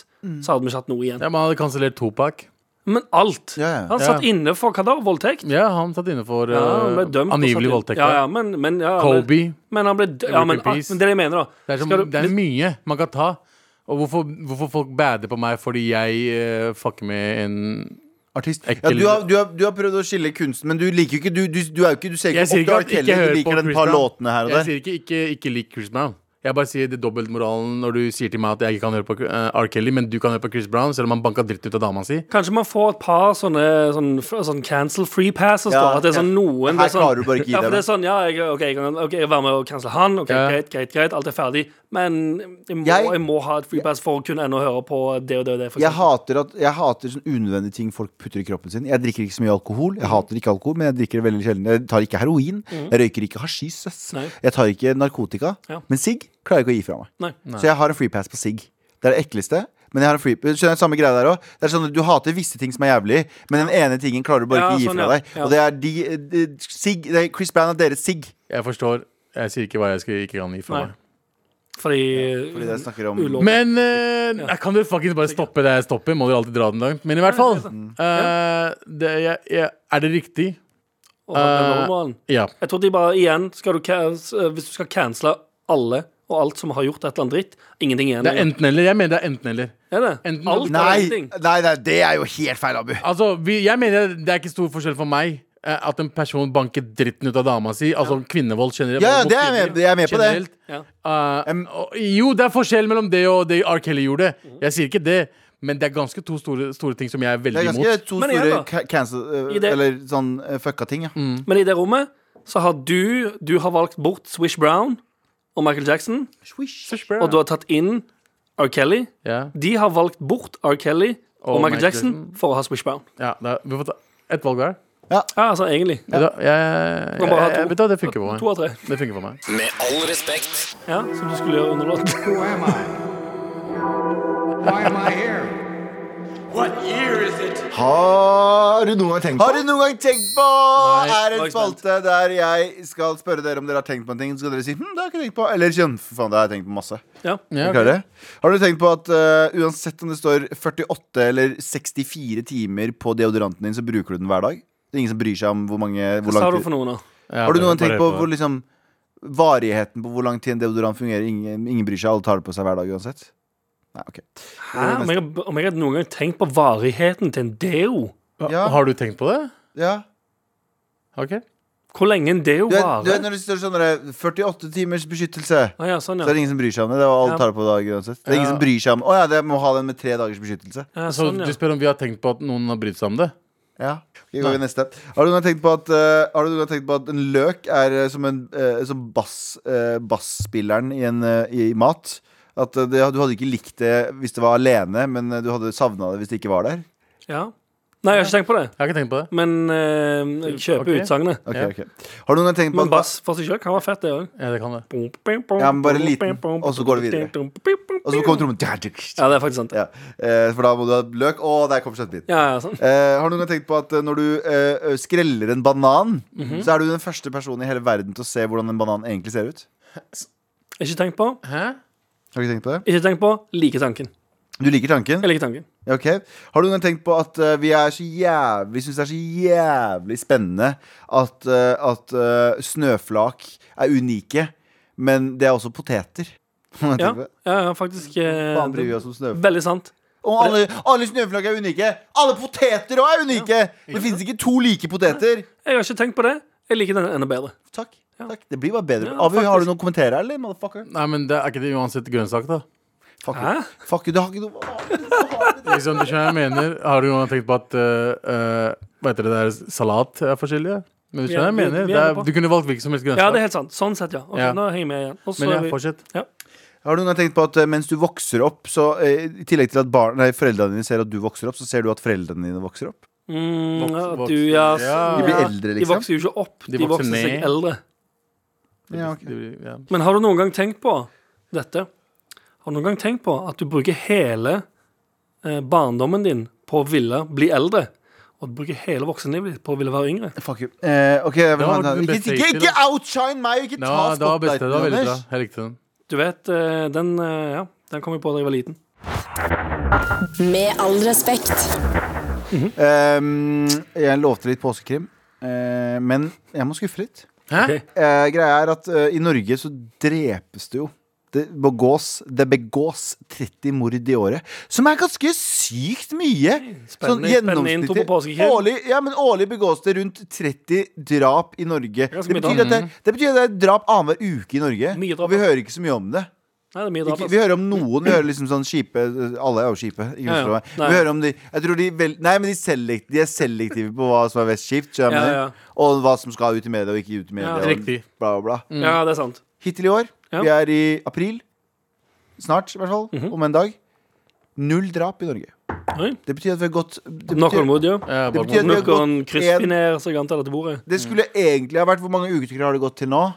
C: så hadde vi ikke hatt noe igjen.
D: Ja, Man hadde kansellert Topak.
C: Men alt.
B: Ja, ja.
C: Han satt inne for hva da? Voldtekt?
D: Ja, han satt inne for
C: Ja, han ble
D: eh,
C: dømt og
D: angivelig
C: satt inn.
D: voldtekt.
C: Ja, ja, men, men, ja, ja, men-
D: Kobe.
C: Men han ble dømt ja, men,
D: Rip in
C: ah,
D: peace.
C: men det er det jeg mener, da.
D: Det er, som,
C: Skal du-
D: det er mye man kan ta. Og hvorfor, hvorfor folk bader på meg fordi jeg eh, fucker med en
B: Artist. Ja,
D: Ekkel.
B: du, har, du, har, du har prøvd å skille kunsten, men du liker jo ikke Du, du, du, er jo ikke, du ser ikke
D: Jeg sier
B: opp til R.
D: ikke at
B: Kelly,
D: ikke hør
B: du
D: på
B: liker den
D: Chris
B: par
D: Brown.
B: låtene her og
D: Jeg
B: der.
D: sier ikke ikke, ikke lik Chris Brown. Jeg bare sier det er dobbeltmoralen når du sier til meg at jeg ikke kan høre på eh, R. Kelly, men du kan høre på Chris Brown, selv om han banka dritt ut av dama si.
C: Kanskje man får et par sånne, sånn- sånn cancel free passes.
B: Ja,
C: da, at det er sånn
B: ja.
C: noen det
B: Her
C: er sånn,
B: klarer du bare ikke gi
C: ja,
B: deg,
C: for det er sånn, ja, jeg, ok, jeg, kan, ok, jeg var med å cancele han. Ok,
D: Ja.
C: Greit, greit, greit, alt er ferdig. Men jeg må,
B: Jeg-
C: jeg, må ha et free pass for å kunne ennå høre på det og det og det. for
B: Jeg
C: eksempel.
B: hater, at, jeg hater sånn unødvendige ting folk putter i kroppen sin. Jeg drikker ikke så mye alkohol. Jeg hater ikke alkohol, men jeg drikker det veldig sjelden. Jeg tar ikke heroin. Jeg røyker ikke hasjis. ass.
C: Nei.
B: Jeg tar ikke
C: Mm.
B: narkotika.
C: Ja.
B: Men sigg klarer jeg ikke å gi fra meg.
C: Nei.
B: Så jeg har en free pass på sigg. Det er det ekleste. Men jeg har en free Skjønner jeg samme greie der også? Det er sånn at Du hater visse ting som er jævlig, men den ene tingen klarer du bare
C: Ja,
B: ikke å gi
C: sånn, ja.
B: fra deg. Og det er de, de, sigg- det er Chris Brown og deres sigg.
D: Jeg forstår. Jeg sier ikke hva jeg skal, ikke kan gi fra
C: Nei.
D: meg.
C: Fordi,
B: Fordi dere snakker om
C: Mm. Ulovlig.
D: Men eh, nei, kan du fuckings bare stoppe der jeg stopper? Må dere alltid dra den langt? Men i hvert fall eh, det, jeg, jeg, Er det riktig?
C: og den
D: eh,
C: normalen.
D: Ja.
C: Jeg tror de bare igjen skal du can- eh, Hvis du skal cancele alle og alt som har gjort et eller annet dritt, ingenting igjen.
D: Det er enten eller. Jeg mener det er enten eller.
C: Er det?
D: enten-
C: alt eller
B: Nei,
C: ingenting.
B: nei, nei, det er jo helt feil, Abu.
D: Altså, vi, jeg mener det er ikke stor forskjell for meg eh, at en person banker dritten ut av dama si. Altså kvinnevold generelt.
B: Ja, ja,
D: vold mot
B: det er jeg
D: kvinner
B: med, jeg er med på det.
D: generelt.
C: Ja.
D: Eh, og, jo, det er forskjell mellom det og det R. Kelly gjorde. Jeg sier ikke det, men det er ganske to store, store ting som jeg er
B: Det
D: veldig
B: er
D: imot.
B: ganske to
C: Men igjen
B: store
C: da.
B: ca- cancel eh,
C: I det- Mm.
B: Eller sånn eh, fucka ting, ja.
C: Men i det rommet så har du Du har valgt bort Swish Brown og Michael Jackson, og du har tatt inn R. Kelly.
D: ja.
C: De har valgt bort R. Kelly og,
D: Og
C: Michael
D: Michael
C: Jackson for å ha Swish Brown.
D: Ja, da, vi får ta ett valg hver.
C: Ja, altså egentlig.
D: Vet du hva, jeg,
C: kan bare ha
D: jeg,
C: to.
D: vet du hva, det funker for
C: To
D: meg.
C: av tre.
D: Det funker for meg.
F: Med all respekt.
C: Ja, som du skulle gjøre under låten.
G: Who am I? Why am I here?
H: Har du noen gang tenkt
B: Har du noen gang tenkt på
C: nå
B: Er
C: er
B: en
C: jeg
B: spalte der jeg skal spørre dere om dere har tenkt på en ting, så skal dere si hm, det har jeg ikke tenkt på. Eller kjønn. For faen, det har jeg tenkt på masse.
C: Ja.
B: Er
D: Ja,
B: dere klare? Har du tenkt på at eh, uansett om det står 48 eller 64 timer på deodoranten din, så bruker du den hver dag? Det er ingen som bryr seg om hvor mange hvor
C: Sa du
B: lang tid-
C: for noen av?
D: Ja,
B: Har du noen gang
D: bare
B: tenkt på
D: hør
B: hvor liksom varigheten på hvor lang tid en deodorant fungerer? Ingen, ingen bryr seg, alle tar det på seg hver dag uansett. Nei, ok
C: Hæ? Om jeg, har- om jeg hadde noen gang tenkt på varigheten til en deo?
B: Ja.
D: Har du tenkt på det?
B: ja.
D: Ok
C: Hvor lenge en deo
B: Du vet, du vet
C: varer?
B: når det står sånn der, 48 timers beskyttelse,
C: Ah, ja, sånn,
B: så
C: ja.
B: er det ingen som bryr seg om det. Det er
C: Ja.
B: alle tar det på dag uansett. Det er ingen
D: Ja.
B: som bryr seg om Å ja, det må ha den med tre dagers beskyttelse.
C: ja,
D: Så
C: sånn,
D: du
C: ja.
D: spør om vi har tenkt på at noen har brydd seg om det?
B: Ja. Vi går til neste. Har du noen gang tenkt på at, eh, har du noen gang tenkt på at en løk er eh, som, en, eh, som bass, eh, basspilleren i, en, eh, i mat? At eh, det, du hadde ikke likt det hvis det var alene, men eh, du hadde savna det hvis det ikke var der?
C: ja. Nei, jeg har ikke tenkt på det.
D: Jeg har ikke tenkt på det.
C: Men eh, jeg kjøper
D: Ok.
C: utsagnet.
B: Ok,
D: Ja.
B: ok Har du noen gang tenkt på
C: Men
B: at
C: bass for seg sjøl kan være fett, det òg.
D: Ja, det kan det.
B: Ja, men bare liten, og så går det videre. Og så kommer trommen
C: Ja, det er faktisk sant.
B: ja. eh, For da må du ha løk Å, der kom kjøttbiten
C: Ja, ja, sånn.
B: eh, Har du noen gang tenkt på at eh, når du eh, skreller en banan
C: Mhm.
B: Så er du den første personen i hele verden Til å se hvordan en banan egentlig ser ut
C: Ikke tenk på.
D: Hæ?
B: Har du ikke tenkt på det?
C: Ikke tenk på. Liker tanken.
B: Du liker tanken?
C: Jeg liker tanken.
B: Ja, ok. Har du noen gang tenkt på at eh, vi, er så jæv- vi synes det er så jævlig spennende At, eh, at eh, snøflak er unike Men det er også poteter Har du
C: Ja,
B: tenkt på det?
C: ja, ja faktisk. eh,
B: Faen bryr vi oss om snøflak
C: Veldig sant.
B: Og alle, alle snøflak er unike. Alle poteter òg er unike! Det finnes ikke to like poteter.
C: Jeg har ikke tenkt på det. Jeg liker den enda bedre.
B: Takk. takk. Det blir bare bedre.
C: Ja,
B: Abu, har
C: faktisk.
B: du noen kommentarer, eller? motherfucker?
D: Nei, men det er ikke det uansett grønnsak, da.
B: Fuck you.
C: Hæ?
B: Fuck you, du har ikke noe
D: Liksom, du skjønner hva jeg mener Har du noen gang tenkt på at eh, eh, Hva heter det der salat er forskjellig? ja? Men du skjønner hva jeg
C: Vi er- vi-
D: mener?
C: vi er
D: Det
C: med på.
D: er, du kunne valgt hvilken som helst
C: Ja, det
D: grønnsak.
C: er helt sant. Sånn sett, ja. Ok,
D: Ja.
C: Nå henger jeg med igjen. Og så
D: men
C: er
D: ja,
C: vi-
D: fortsett.
C: ja.
B: Har du noen gang tenkt på at eh, mens du vokser opp, så eh, i tillegg til at barn, nei, foreldrene dine ser at du vokser opp, så ser du at foreldrene dine vokser opp?
C: Mm,
D: Voks-
C: ja,
D: voks-
C: du, ja, s-
D: ja.
B: De blir
C: ja.
B: eldre,
C: De
B: liksom.
C: vokser jo ikke opp.
D: De
C: De
D: vokser
C: vokser seg
D: ned.
C: eldre.
B: Ja, ok.
D: Det blir- ja.
C: Men har du noen gang tenkt på dette? Har du noen gang tenkt på at du bruker hele eh, barndommen din på å ville bli eldre? Og du bruker hele voksenlivet ditt på å ville være yngre?
B: Fuck you. Eh, ok, jeg vil
D: var
B: ha en-
D: den
B: ikke,
D: beste
B: ikke,
D: hittil,
B: ikke
D: da.
B: outshine meg! Ikke
D: Det
B: ta
D: var, det var best, det
B: spotlighten,
D: var veldig bra.
B: Anders.
D: Jeg likte den.
C: Du vet, eh, den, eh, ja, den kom jeg på da jeg var liten.
A: Med all respekt.
B: Eh, jeg lovte litt påskekrim, eh, men jeg må skuffe litt.
D: Hæ?
C: Ok.
B: eh, Greia er at eh, i Norge så drepes det jo det begås, det begås 30 mord i året, som er ganske sykt mye. Sånn
C: Spennende- spennende intro på påskekrim.
B: årlig, ja, men årlig begås det rundt 30 drap i Norge. Det
C: Ganske mye
B: betyr, at det, det betyr at det er drap annenhver uke i Norge.
C: Mye drap,
B: Og vi
C: ass.
B: hører ikke så mye om det.
C: Nei, det er mye altså. drap.
B: Ikke,
C: ass.
B: vi hører om noen. Vi hører liksom sånn kjipe Alle er jo kjipe. Ikke
C: Ja, ja.
B: forstå meg.
C: Nei.
B: Vi hører om de Jeg tror de vel, Nei, men de, selekt, de er selektive på hva som er mest kjipt. skjønner
C: Ja,
B: du?
C: ja.
B: Og hva som skal ut i media og ikke ut i
C: Ja.
B: media. og
D: Riktig.
B: Bla, bla, bla.
C: Ja, det er sant.
B: Hittil i år.
C: Ja. Mhm.
B: Vi er i april. Snart, i hvert fall. Om en dag. Null drap i Norge.
C: Oi.
B: Det betyr at vi har gått det betyr,
C: Noen mord, ja.
D: Ja,
B: Det
D: bare-
B: betyr at vi har
C: Noen
B: gått en,
C: kryssbinær som jeg antar dette bordet.
B: Det skulle
C: Mm.
B: egentlig ha vært Hvor mange uker har det gått til nå?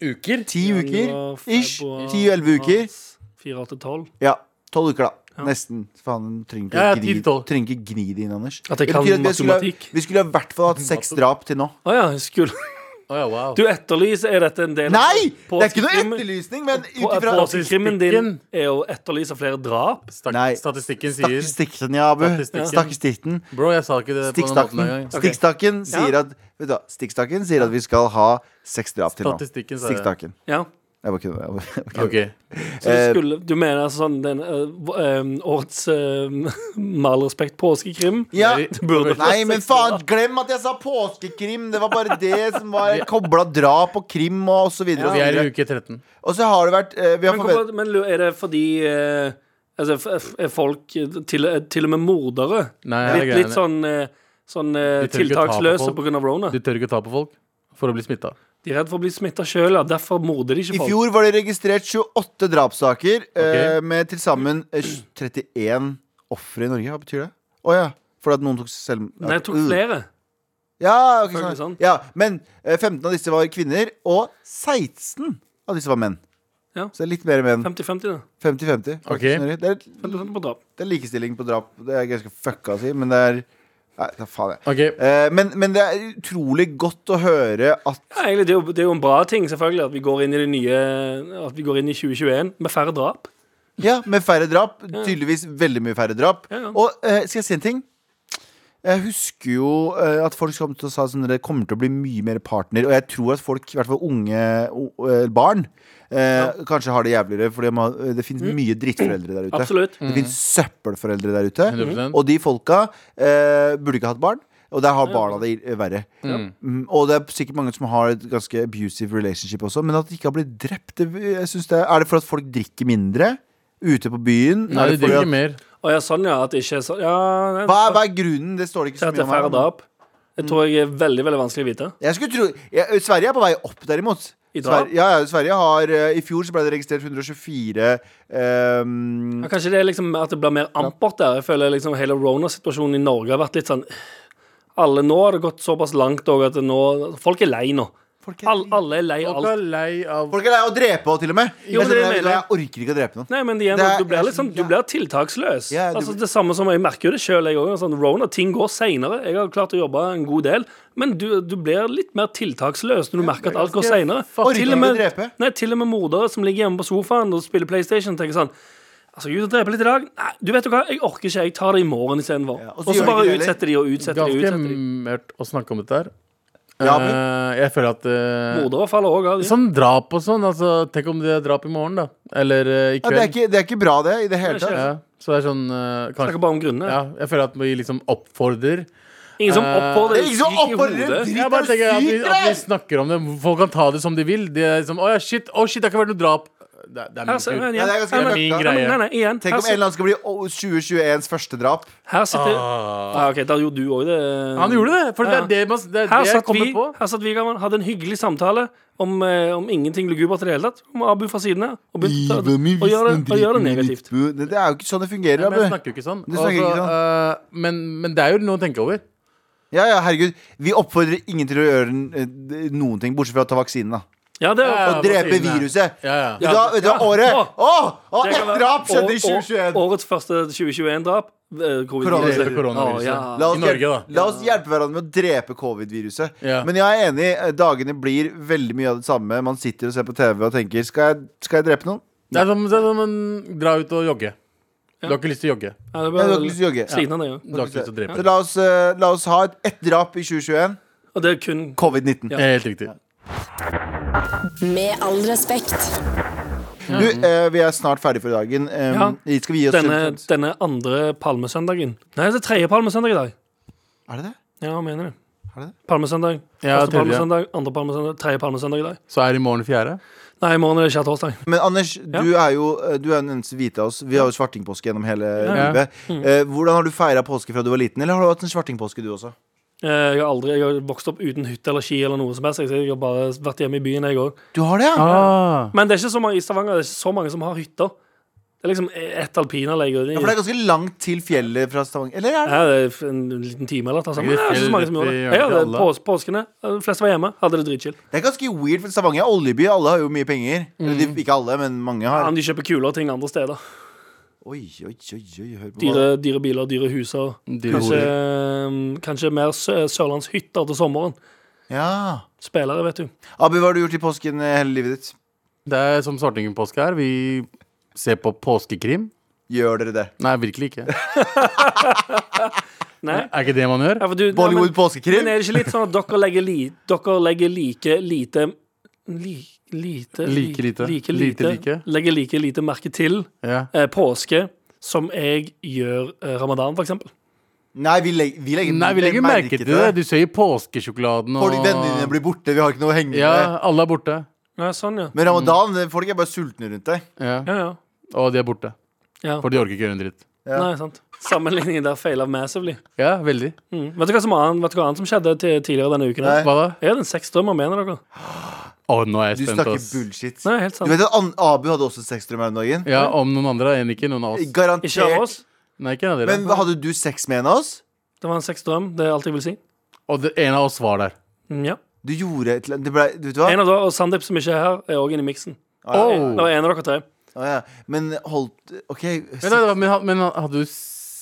D: Uker?
B: Ti
C: Januar,
B: uker? Ish.
C: februar,
B: Ti-elleve uker.
C: mars, Fire, åtte, tolv.
B: Ja. Tolv uker, da. Nesten. Faen, trenger ikke,
D: Ja, ja,
B: gni-
D: ti til tolv.
B: trenger ikke gni det inn, Anders.
C: At jeg
B: Det
C: kan
B: betyr at vi skulle,
C: matematikk.
B: ha- vi skulle i hvert fall hatt seks drap til nå.
C: Å ja, jeg skulle
D: Å ja, wow.
C: Du etterlyser Er dette en del av-
B: Nei!
C: på-
B: Det er ikke noe
C: krim-
B: etterlysning, men ut
C: på-
B: ifra
C: Påskekrimmen din er å etterlyse flere drap.
D: Stak
B: Nei.
D: Statistikken sier
B: Statistikken, ja, Abu.
D: Statistikken.
B: Statistikken.
D: Bro, jeg sa ikke det på den måten
B: Stikkstakken.
D: engang. Ok.
B: Stikkstakken sier at Vet du hva, Stikkstakken sier at vi skal ha seks drap til nå.
D: Statistikken sa det.
B: Stikkstakken.
C: Ja.
B: Jeg bare kødder. jeg bare- jeg bare kødder.
D: Ok.
C: Så
B: Eh,
C: du, skulle, du mener altså sånn den, eh, v- eh, årets eh, Med all respekt påskekrim?
B: Ja.
D: Du
C: burde-
B: Nei, men faen, glem at jeg sa påskekrim! Det var bare det som var kobla drap og krim og osv.
D: Vi er i
B: Og
D: uke 13.
B: så har det vært eh, Vi har
C: Men,
B: forvent...
C: hvorfor, men lu- er det fordi eh, altså, f- f- er folk eh, til, eh, til og med mordere
D: Nei, det er
C: litt, litt
D: greiene.
C: sånn, eh, sånn eh,
D: De tør ikke ta på
C: tiltaksløse
D: folk.
C: pga. rona?
D: Du tør ikke ta på folk for å bli smitta.
C: De er redd for å bli smitta sjøl, ja. Derfor morder de
B: I
C: ikke folk.
B: fjor var det registrert 28 drapssaker eh, med til sammen eh, 31 ofre i Norge. Hva betyr det? Å ja. Fordi at noen tok selv... Mm.
C: Nei, jeg
D: Mm.
C: tok flere.
B: Ja, ok,
C: Følger
B: sånn.
C: sånn.
B: ja, men eh, 15 av disse var kvinner, og 16 av disse var menn.
C: Ja.
B: Så det er litt mer menn.
C: 50-50, da.
B: 50-50.
D: Ok.
B: faktisk, Norge. Det, er-
C: 50 på drap.
B: det er likestilling på drap. Det er ganske fucka å si, men det er Nei, da faen jeg.
D: Ok.
B: Eh, men, men det er utrolig godt å høre at
C: Ja, egentlig, det, er jo, det er jo en bra ting, selvfølgelig, at vi går inn i det nye At vi går inn i 2021 med færre drap.
B: Ja, med færre drap. Tydeligvis veldig mye færre drap.
C: Ja, ja.
B: Og eh, skal jeg si en ting? Jeg husker jo eh, at folk kom til å sa sånn Det kommer til å bli mye mer partner. Og jeg tror at folk, i hvert fall unge o- eh, barn, eh, kanskje har det jævligere. For det fins mye drittforeldre der ute.
C: Mm. Absolutt.
B: Det
D: Mm.
B: fins søppelforeldre der ute.
D: 100%.
B: Og de folka eh, burde ikke hatt barn. Og der har barna det i- verre. Mm, og det er sikkert mange som har et ganske abusive relationship også, men at de ikke har blitt drept det, jeg synes det, Er det for at folk drikker mindre ute på byen?
D: Nei,
B: er
D: de
B: det fordi
D: drikker
B: at,
D: mer.
C: Å ja, sånn, ja. At det ikke er sånn Ja, nei,
B: hva, er- hva er grunnen? Det står det Mm. ikke
C: til
B: så
C: at det
B: mye
C: er færre
B: om. her,
C: drap. Det tror jeg er veldig veldig vanskelig å vite.
B: men Jeg skulle tro, jeg, Sverige er på vei opp, derimot.
C: I drap?
B: Sverige, ja, ja, Sverige har, eh, I fjor så ble det registrert 124 ehm,
C: Ja, kanskje det er liksom at det blir mer ampert der. Jeg føler liksom hele Rona-situasjonen i Norge har vært litt sånn alle, Nå har det gått såpass langt òg at det nå Folk er lei nå.
B: Folk er
C: All, alle er lei av
D: Folk
C: alt.
D: er lei av
B: Folk er lei av å drepe òg, til og med.
C: Jo, men
B: jeg,
C: det
B: jeg,
C: mener jeg.
B: jeg orker ikke å drepe noen.
C: Nei, men igjen,
B: Det er-
C: du blir
B: jeg
C: litt sånn,
B: synes-
C: du blir tiltaksløs.
B: Ja, du
C: altså
B: blir-
C: Det samme som jeg merker jo det sjøl, jeg òg. Sånn, Rona, ting går seinere. Jeg har klart å jobbe en god del, men du, du blir litt mer tiltaksløs når du merker at alt går seinere.
B: Orker
C: Til,
B: ikke
C: og
B: å
C: med-
B: drepe.
C: nei, til og med mordere som ligger hjemme på sofaen og spiller PlayStation, tenker sånn Altså, jeg er ute og dreper litt i dag. Nei, du vet jo hva, jeg orker ikke. Jeg tar det i morgen istedenfor.
B: og så
C: og så
B: gjør
C: bare
B: de ikke det
C: utsetter de og utsetter de. og
D: Ganske
C: utsetter de
D: mørkt å snakke om dette her.
B: Ja, men-
D: Eh, jeg føler at eh,
C: Mordere faller òg av. de.
D: Sånn drap og sånn. Altså, tenk om det er drap i morgen, da. Eller eh, i
B: Ja, det, er
D: kveld.
B: ikke, det er ikke bra, det. I det hele
C: Det er
B: tatt.
D: Ja, så det er sånn eh,
C: Snakker
D: Kanskje
C: bare om grunnene.
D: ja, Jeg føler at vi liksom oppfordrer.
C: Ingen som
D: Eh,
C: oppholder
B: det er ingen som oppholder en dritt.
D: Jeg bare
B: Det er
D: tenker at vi,
B: sykt,
D: at vi
B: det!
D: snakker om det. Folk kan ta det som de vil. De er liksom, Å ja, shit, å shit, det har ikke vært noe drap. Det, er- det
C: Her
D: er min
C: ser-
D: tur.
C: igjen.
B: Nei, det er ganske
C: Nei, men-
B: mørkt, da.
C: Nei, men- nei, nei, igjen.
B: Tenk
C: Her
B: om en
C: sit-
B: eller annen skal bli å- 2021s første drap.
C: Her sitter
D: Ah.
C: Ja, ok, Da gjorde du òg det.
D: Han gjorde det! For det
C: Ja.
D: er det, man, det, er
C: Her
D: det jeg
C: satt,
D: kommer
C: vi,
D: på.
C: her satt vi gammel, hadde en hyggelig samtale om, eh, om ingenting lugubert i det hele tatt. Om Abu fra siden av. Og begynte å- å gjøre det, å gjøre det negativt.
B: Det, det er jo ikke sånn det fungerer.
D: Men jeg
B: Abu.
D: snakker jo ikke sånn.
B: Du snakker
D: Altså,
B: ikke sånn.
D: eh, men, men det er jo noe å tenke over.
B: Ja, ja, herregud Vi oppfordrer ingen til å gjøre eh, d- noen ting, bortsett fra å ta vaksinen. da
C: Ja, det er,
D: Ja,
B: Og drepe
D: vaksinen, ja.
B: viruset.
D: Ja, ja.
B: Vet du hva- vet du hva,
C: Ja.
B: året
C: Å,
B: Å! å,
C: det
B: Ett
C: kan være-
B: drap skjedde i
C: å- å-
B: 2021!
C: Årets første 2021-drap. eh,
B: Koronaviruset.
D: Koronaviruset.
C: Å, ja.
B: La oss,
D: I
B: hjelpe,
D: Norge, da.
B: la oss hjelpe hverandre med å drepe covid-viruset.
D: Ja.
B: Men jeg er enig, eh, dagene blir veldig mye av det samme. Man sitter og ser på TV og tenker Skal jeg, skal jeg drepe noen?
D: Det er som, det er som en, dra ut og jogge. Du har ikke lyst til å jogge.
C: Ja, det
B: Jeg har
C: var
B: ikke lyst til å jogge.
C: sliten av det, ja.
D: Du har ikke lyst til å
B: Så
D: drepe.
B: la oss, eh, la oss ha et, ett drap i 2021.
C: Og det er kun
B: Covid-19.
C: Ja.
D: Helt riktig.
A: Med all respekt.
B: Du, eh, vi er snart ferdig for dagen. Eh,
C: Ja.
B: Skal vi gi oss
C: denne,
B: selv-
C: denne andre palmesøndagen. Nei, det er tredje palmesøndag i dag.
B: Er det det?
C: Ja, jeg mener det.
B: Er det det?
C: Palmesøndag.
D: Ja,
C: Første
D: tredje.
C: palmesøndag, andre palmesøndag, tredje palmesøndag i dag.
D: Så er i morgen fjerde.
C: Nei, i morgen er det skjærtorsdag.
B: Men Anders, du er jo eh, Du er den eneste hvite av oss. Vi har jo svartingpåske gjennom hele
D: Ja.
B: livet. Eh, hvordan har du feira påske fra du var liten, eller har du hatt en svartingpåske du også?
C: Eh, Jeg har aldri jeg har vokst opp uten hytte eller ski eller noe som helst. så Jeg har bare vært hjemme i byen, jeg òg.
B: Du har det, ja?
D: Ah.
C: Men det er ikke så mange i Stavanger det er ikke så mange som har hytter. Det er liksom ett alpinanlegg. og
B: ja? For det er ganske langt til fjellet fra Stavanger. Eller er det?
C: Ja, det er en liten time eller noe sånt.
D: Det er
C: Men det er ikke så mange som gjorde det.
D: rett i
C: Jeg hadde
D: alle.
C: pås påskene. De fleste var hjemme. Hadde det dritchill.
B: Det er ganske weird, for Stavanger er oljeby. Alle har jo mye penger. Eller de- ikke alle, men mange har.
C: Men de kjøper kulere ting andre steder.
B: Oi, oi, oi, oi, hør på
C: Dyre, dyre biler, dyre huser.
D: Dyre
C: Kanskje,
D: horer.
C: eh, kanskje mer sø- sørlandshytter til sommeren.
B: Ja.
C: spillere, vet du.
B: Abu, hva har du gjort i påsken eh, hele livet ditt?
D: Det er som Svartingen-påske her. Vi ser på påskekrim.
B: Gjør dere det?
D: Nei, virkelig ikke.
C: Nei.
D: Er ikke det man gjør?
C: Ja, for du,
B: Bollywood
C: ja, men,
B: påskekrim?
C: men er det ikke litt sånn at dere legger, li, dere legger like lite li, Lite li-
D: Like lite.
C: Like lite.
D: Lite like.
C: Legger like lite merke til
D: Ja.
C: eh, påske som jeg gjør eh, ramadan, for eksempel.
B: Nei, vi, leg vi legger,
D: Nei, vi legger merke til det. Du ser jo påskesjokoladen og
B: Folk, vennene dine blir borte, vi har ikke noe å henge med.
D: Ja, Mm. alle er borte.
C: Ja, sånn, ja.
B: Men ramadan, det- folk er bare sultne rundt deg.
D: Ja.
C: Ja, ja.
D: Og de er borte.
C: Ja.
D: For de orker ikke gjøre en dritt.
B: Ja.
C: Nei, sant. Sammenligningen der feila massively.
D: Ja, veldig.
C: Mm. Vet, du hva som annet, vet du hva annet som skjedde til, tidligere denne uken?
B: Nei.
D: Hva da?
C: Jeg hadde en sexdrøm, hva mener dere?
D: Å, nå er jeg
B: Du
D: spent,
B: snakker
D: ass.
B: bullshit.
C: Nei, helt
B: Du
C: sant.
B: vet at An Abu hadde også sexdrøm her om dagen?
D: Ja, om noen andre enn ikke noen av oss.
C: Ikke av
B: Garantert.
C: oss.
D: Nei, ikke en av dere.
B: Men hadde du sex med en av oss?
C: Det var en sexdrøm. Det er alt jeg vil si.
D: Og det, en av oss var der.
C: Mm, Ja.
B: Du gjorde et eller annet det ble, du vet hva?
C: En av dere, og Sandeep, som ikke er her, er òg inne i miksen.
D: Oh.
C: Det var en av dere tre.
B: Å, ja. Men holdt OK.
D: Men, da- men, ha- men hadde du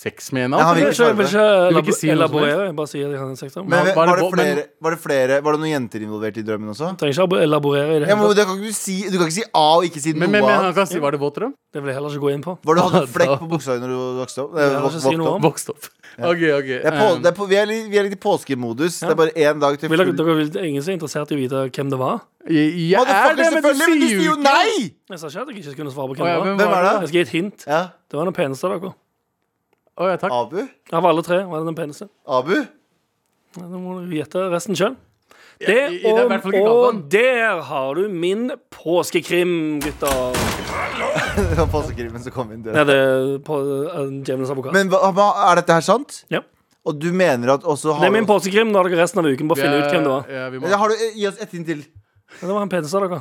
D: sex med en
B: Jeg
D: av
B: har
D: oss?
C: Jeg vil ikke, jeg vil ikke
D: Du vil ikke si noe som helst?
C: elaborere. Jeg bare sier at jeg har en sexdrøm.
B: Men,
D: Var-
B: var, det
D: var det-
B: flere, var det flere Var det noen jenter involvert i drømmen også?
C: Jeg trenger ikke elaborere i det.
B: Ja, men
C: hele tatt.
B: det kan ikke du, si, du kan ikke si A og ikke si
D: Men, men,
B: noe
D: men han
B: annet.
D: kan si var det våt drøm?
C: Det vil jeg heller ikke gå inn på.
B: Var det du hadde en
D: Da-
B: flekk på buksa di når du vokste opp? Eh,
C: Jeg vil ikke si
B: vokste
C: noe
B: opp.
C: om.
D: Vokst opp. Ok, ok.
B: Det er på,
C: Ehm.
D: Um,
B: det er på, vi, er litt, vi er litt i påskemodus. Det er bare én dag til
C: Vil dere,
B: full-
C: dere vil, ingen som er interessert i å vite hvem det var?
D: jeg, jeg er
B: Motherfucker,
D: det, men du
B: selvfølgelig,
D: sier jo ikke
B: nei!
C: Jeg sa ikke at jeg ikke kunne svare på
D: Å,
C: hvem
D: ja,
C: det var.
D: men
B: Hvem
D: var
B: er det?
C: Jeg skal gi et hint.
B: Ja.
C: Det var den peneste av dere.
D: Å ja, takk.
B: Abu?
C: Av alle tre var det den peneste.
B: Abu?
C: Ja, Da må du gjette resten sjøl.
D: Ja, i- i-
C: Det
D: det er i
C: og,
D: hvert fall ikke
C: og
D: Galvan.
C: der har du min påskekrim, gutter.
B: Det var påskekrimen som kom inn
C: Nei,
B: døra.
C: det er på eh, Djevelens advokat.
B: Men hva, hva- er dette her sant?
C: Ja.
B: Og du mener at også
C: Det
B: har
C: er min påskekrim. Nå har dere resten av uken på å finne ut hvem det var.
D: Ja, vi må.
B: Eller har du, Gi oss ett hint til.
C: Men Det var den peneste av dere.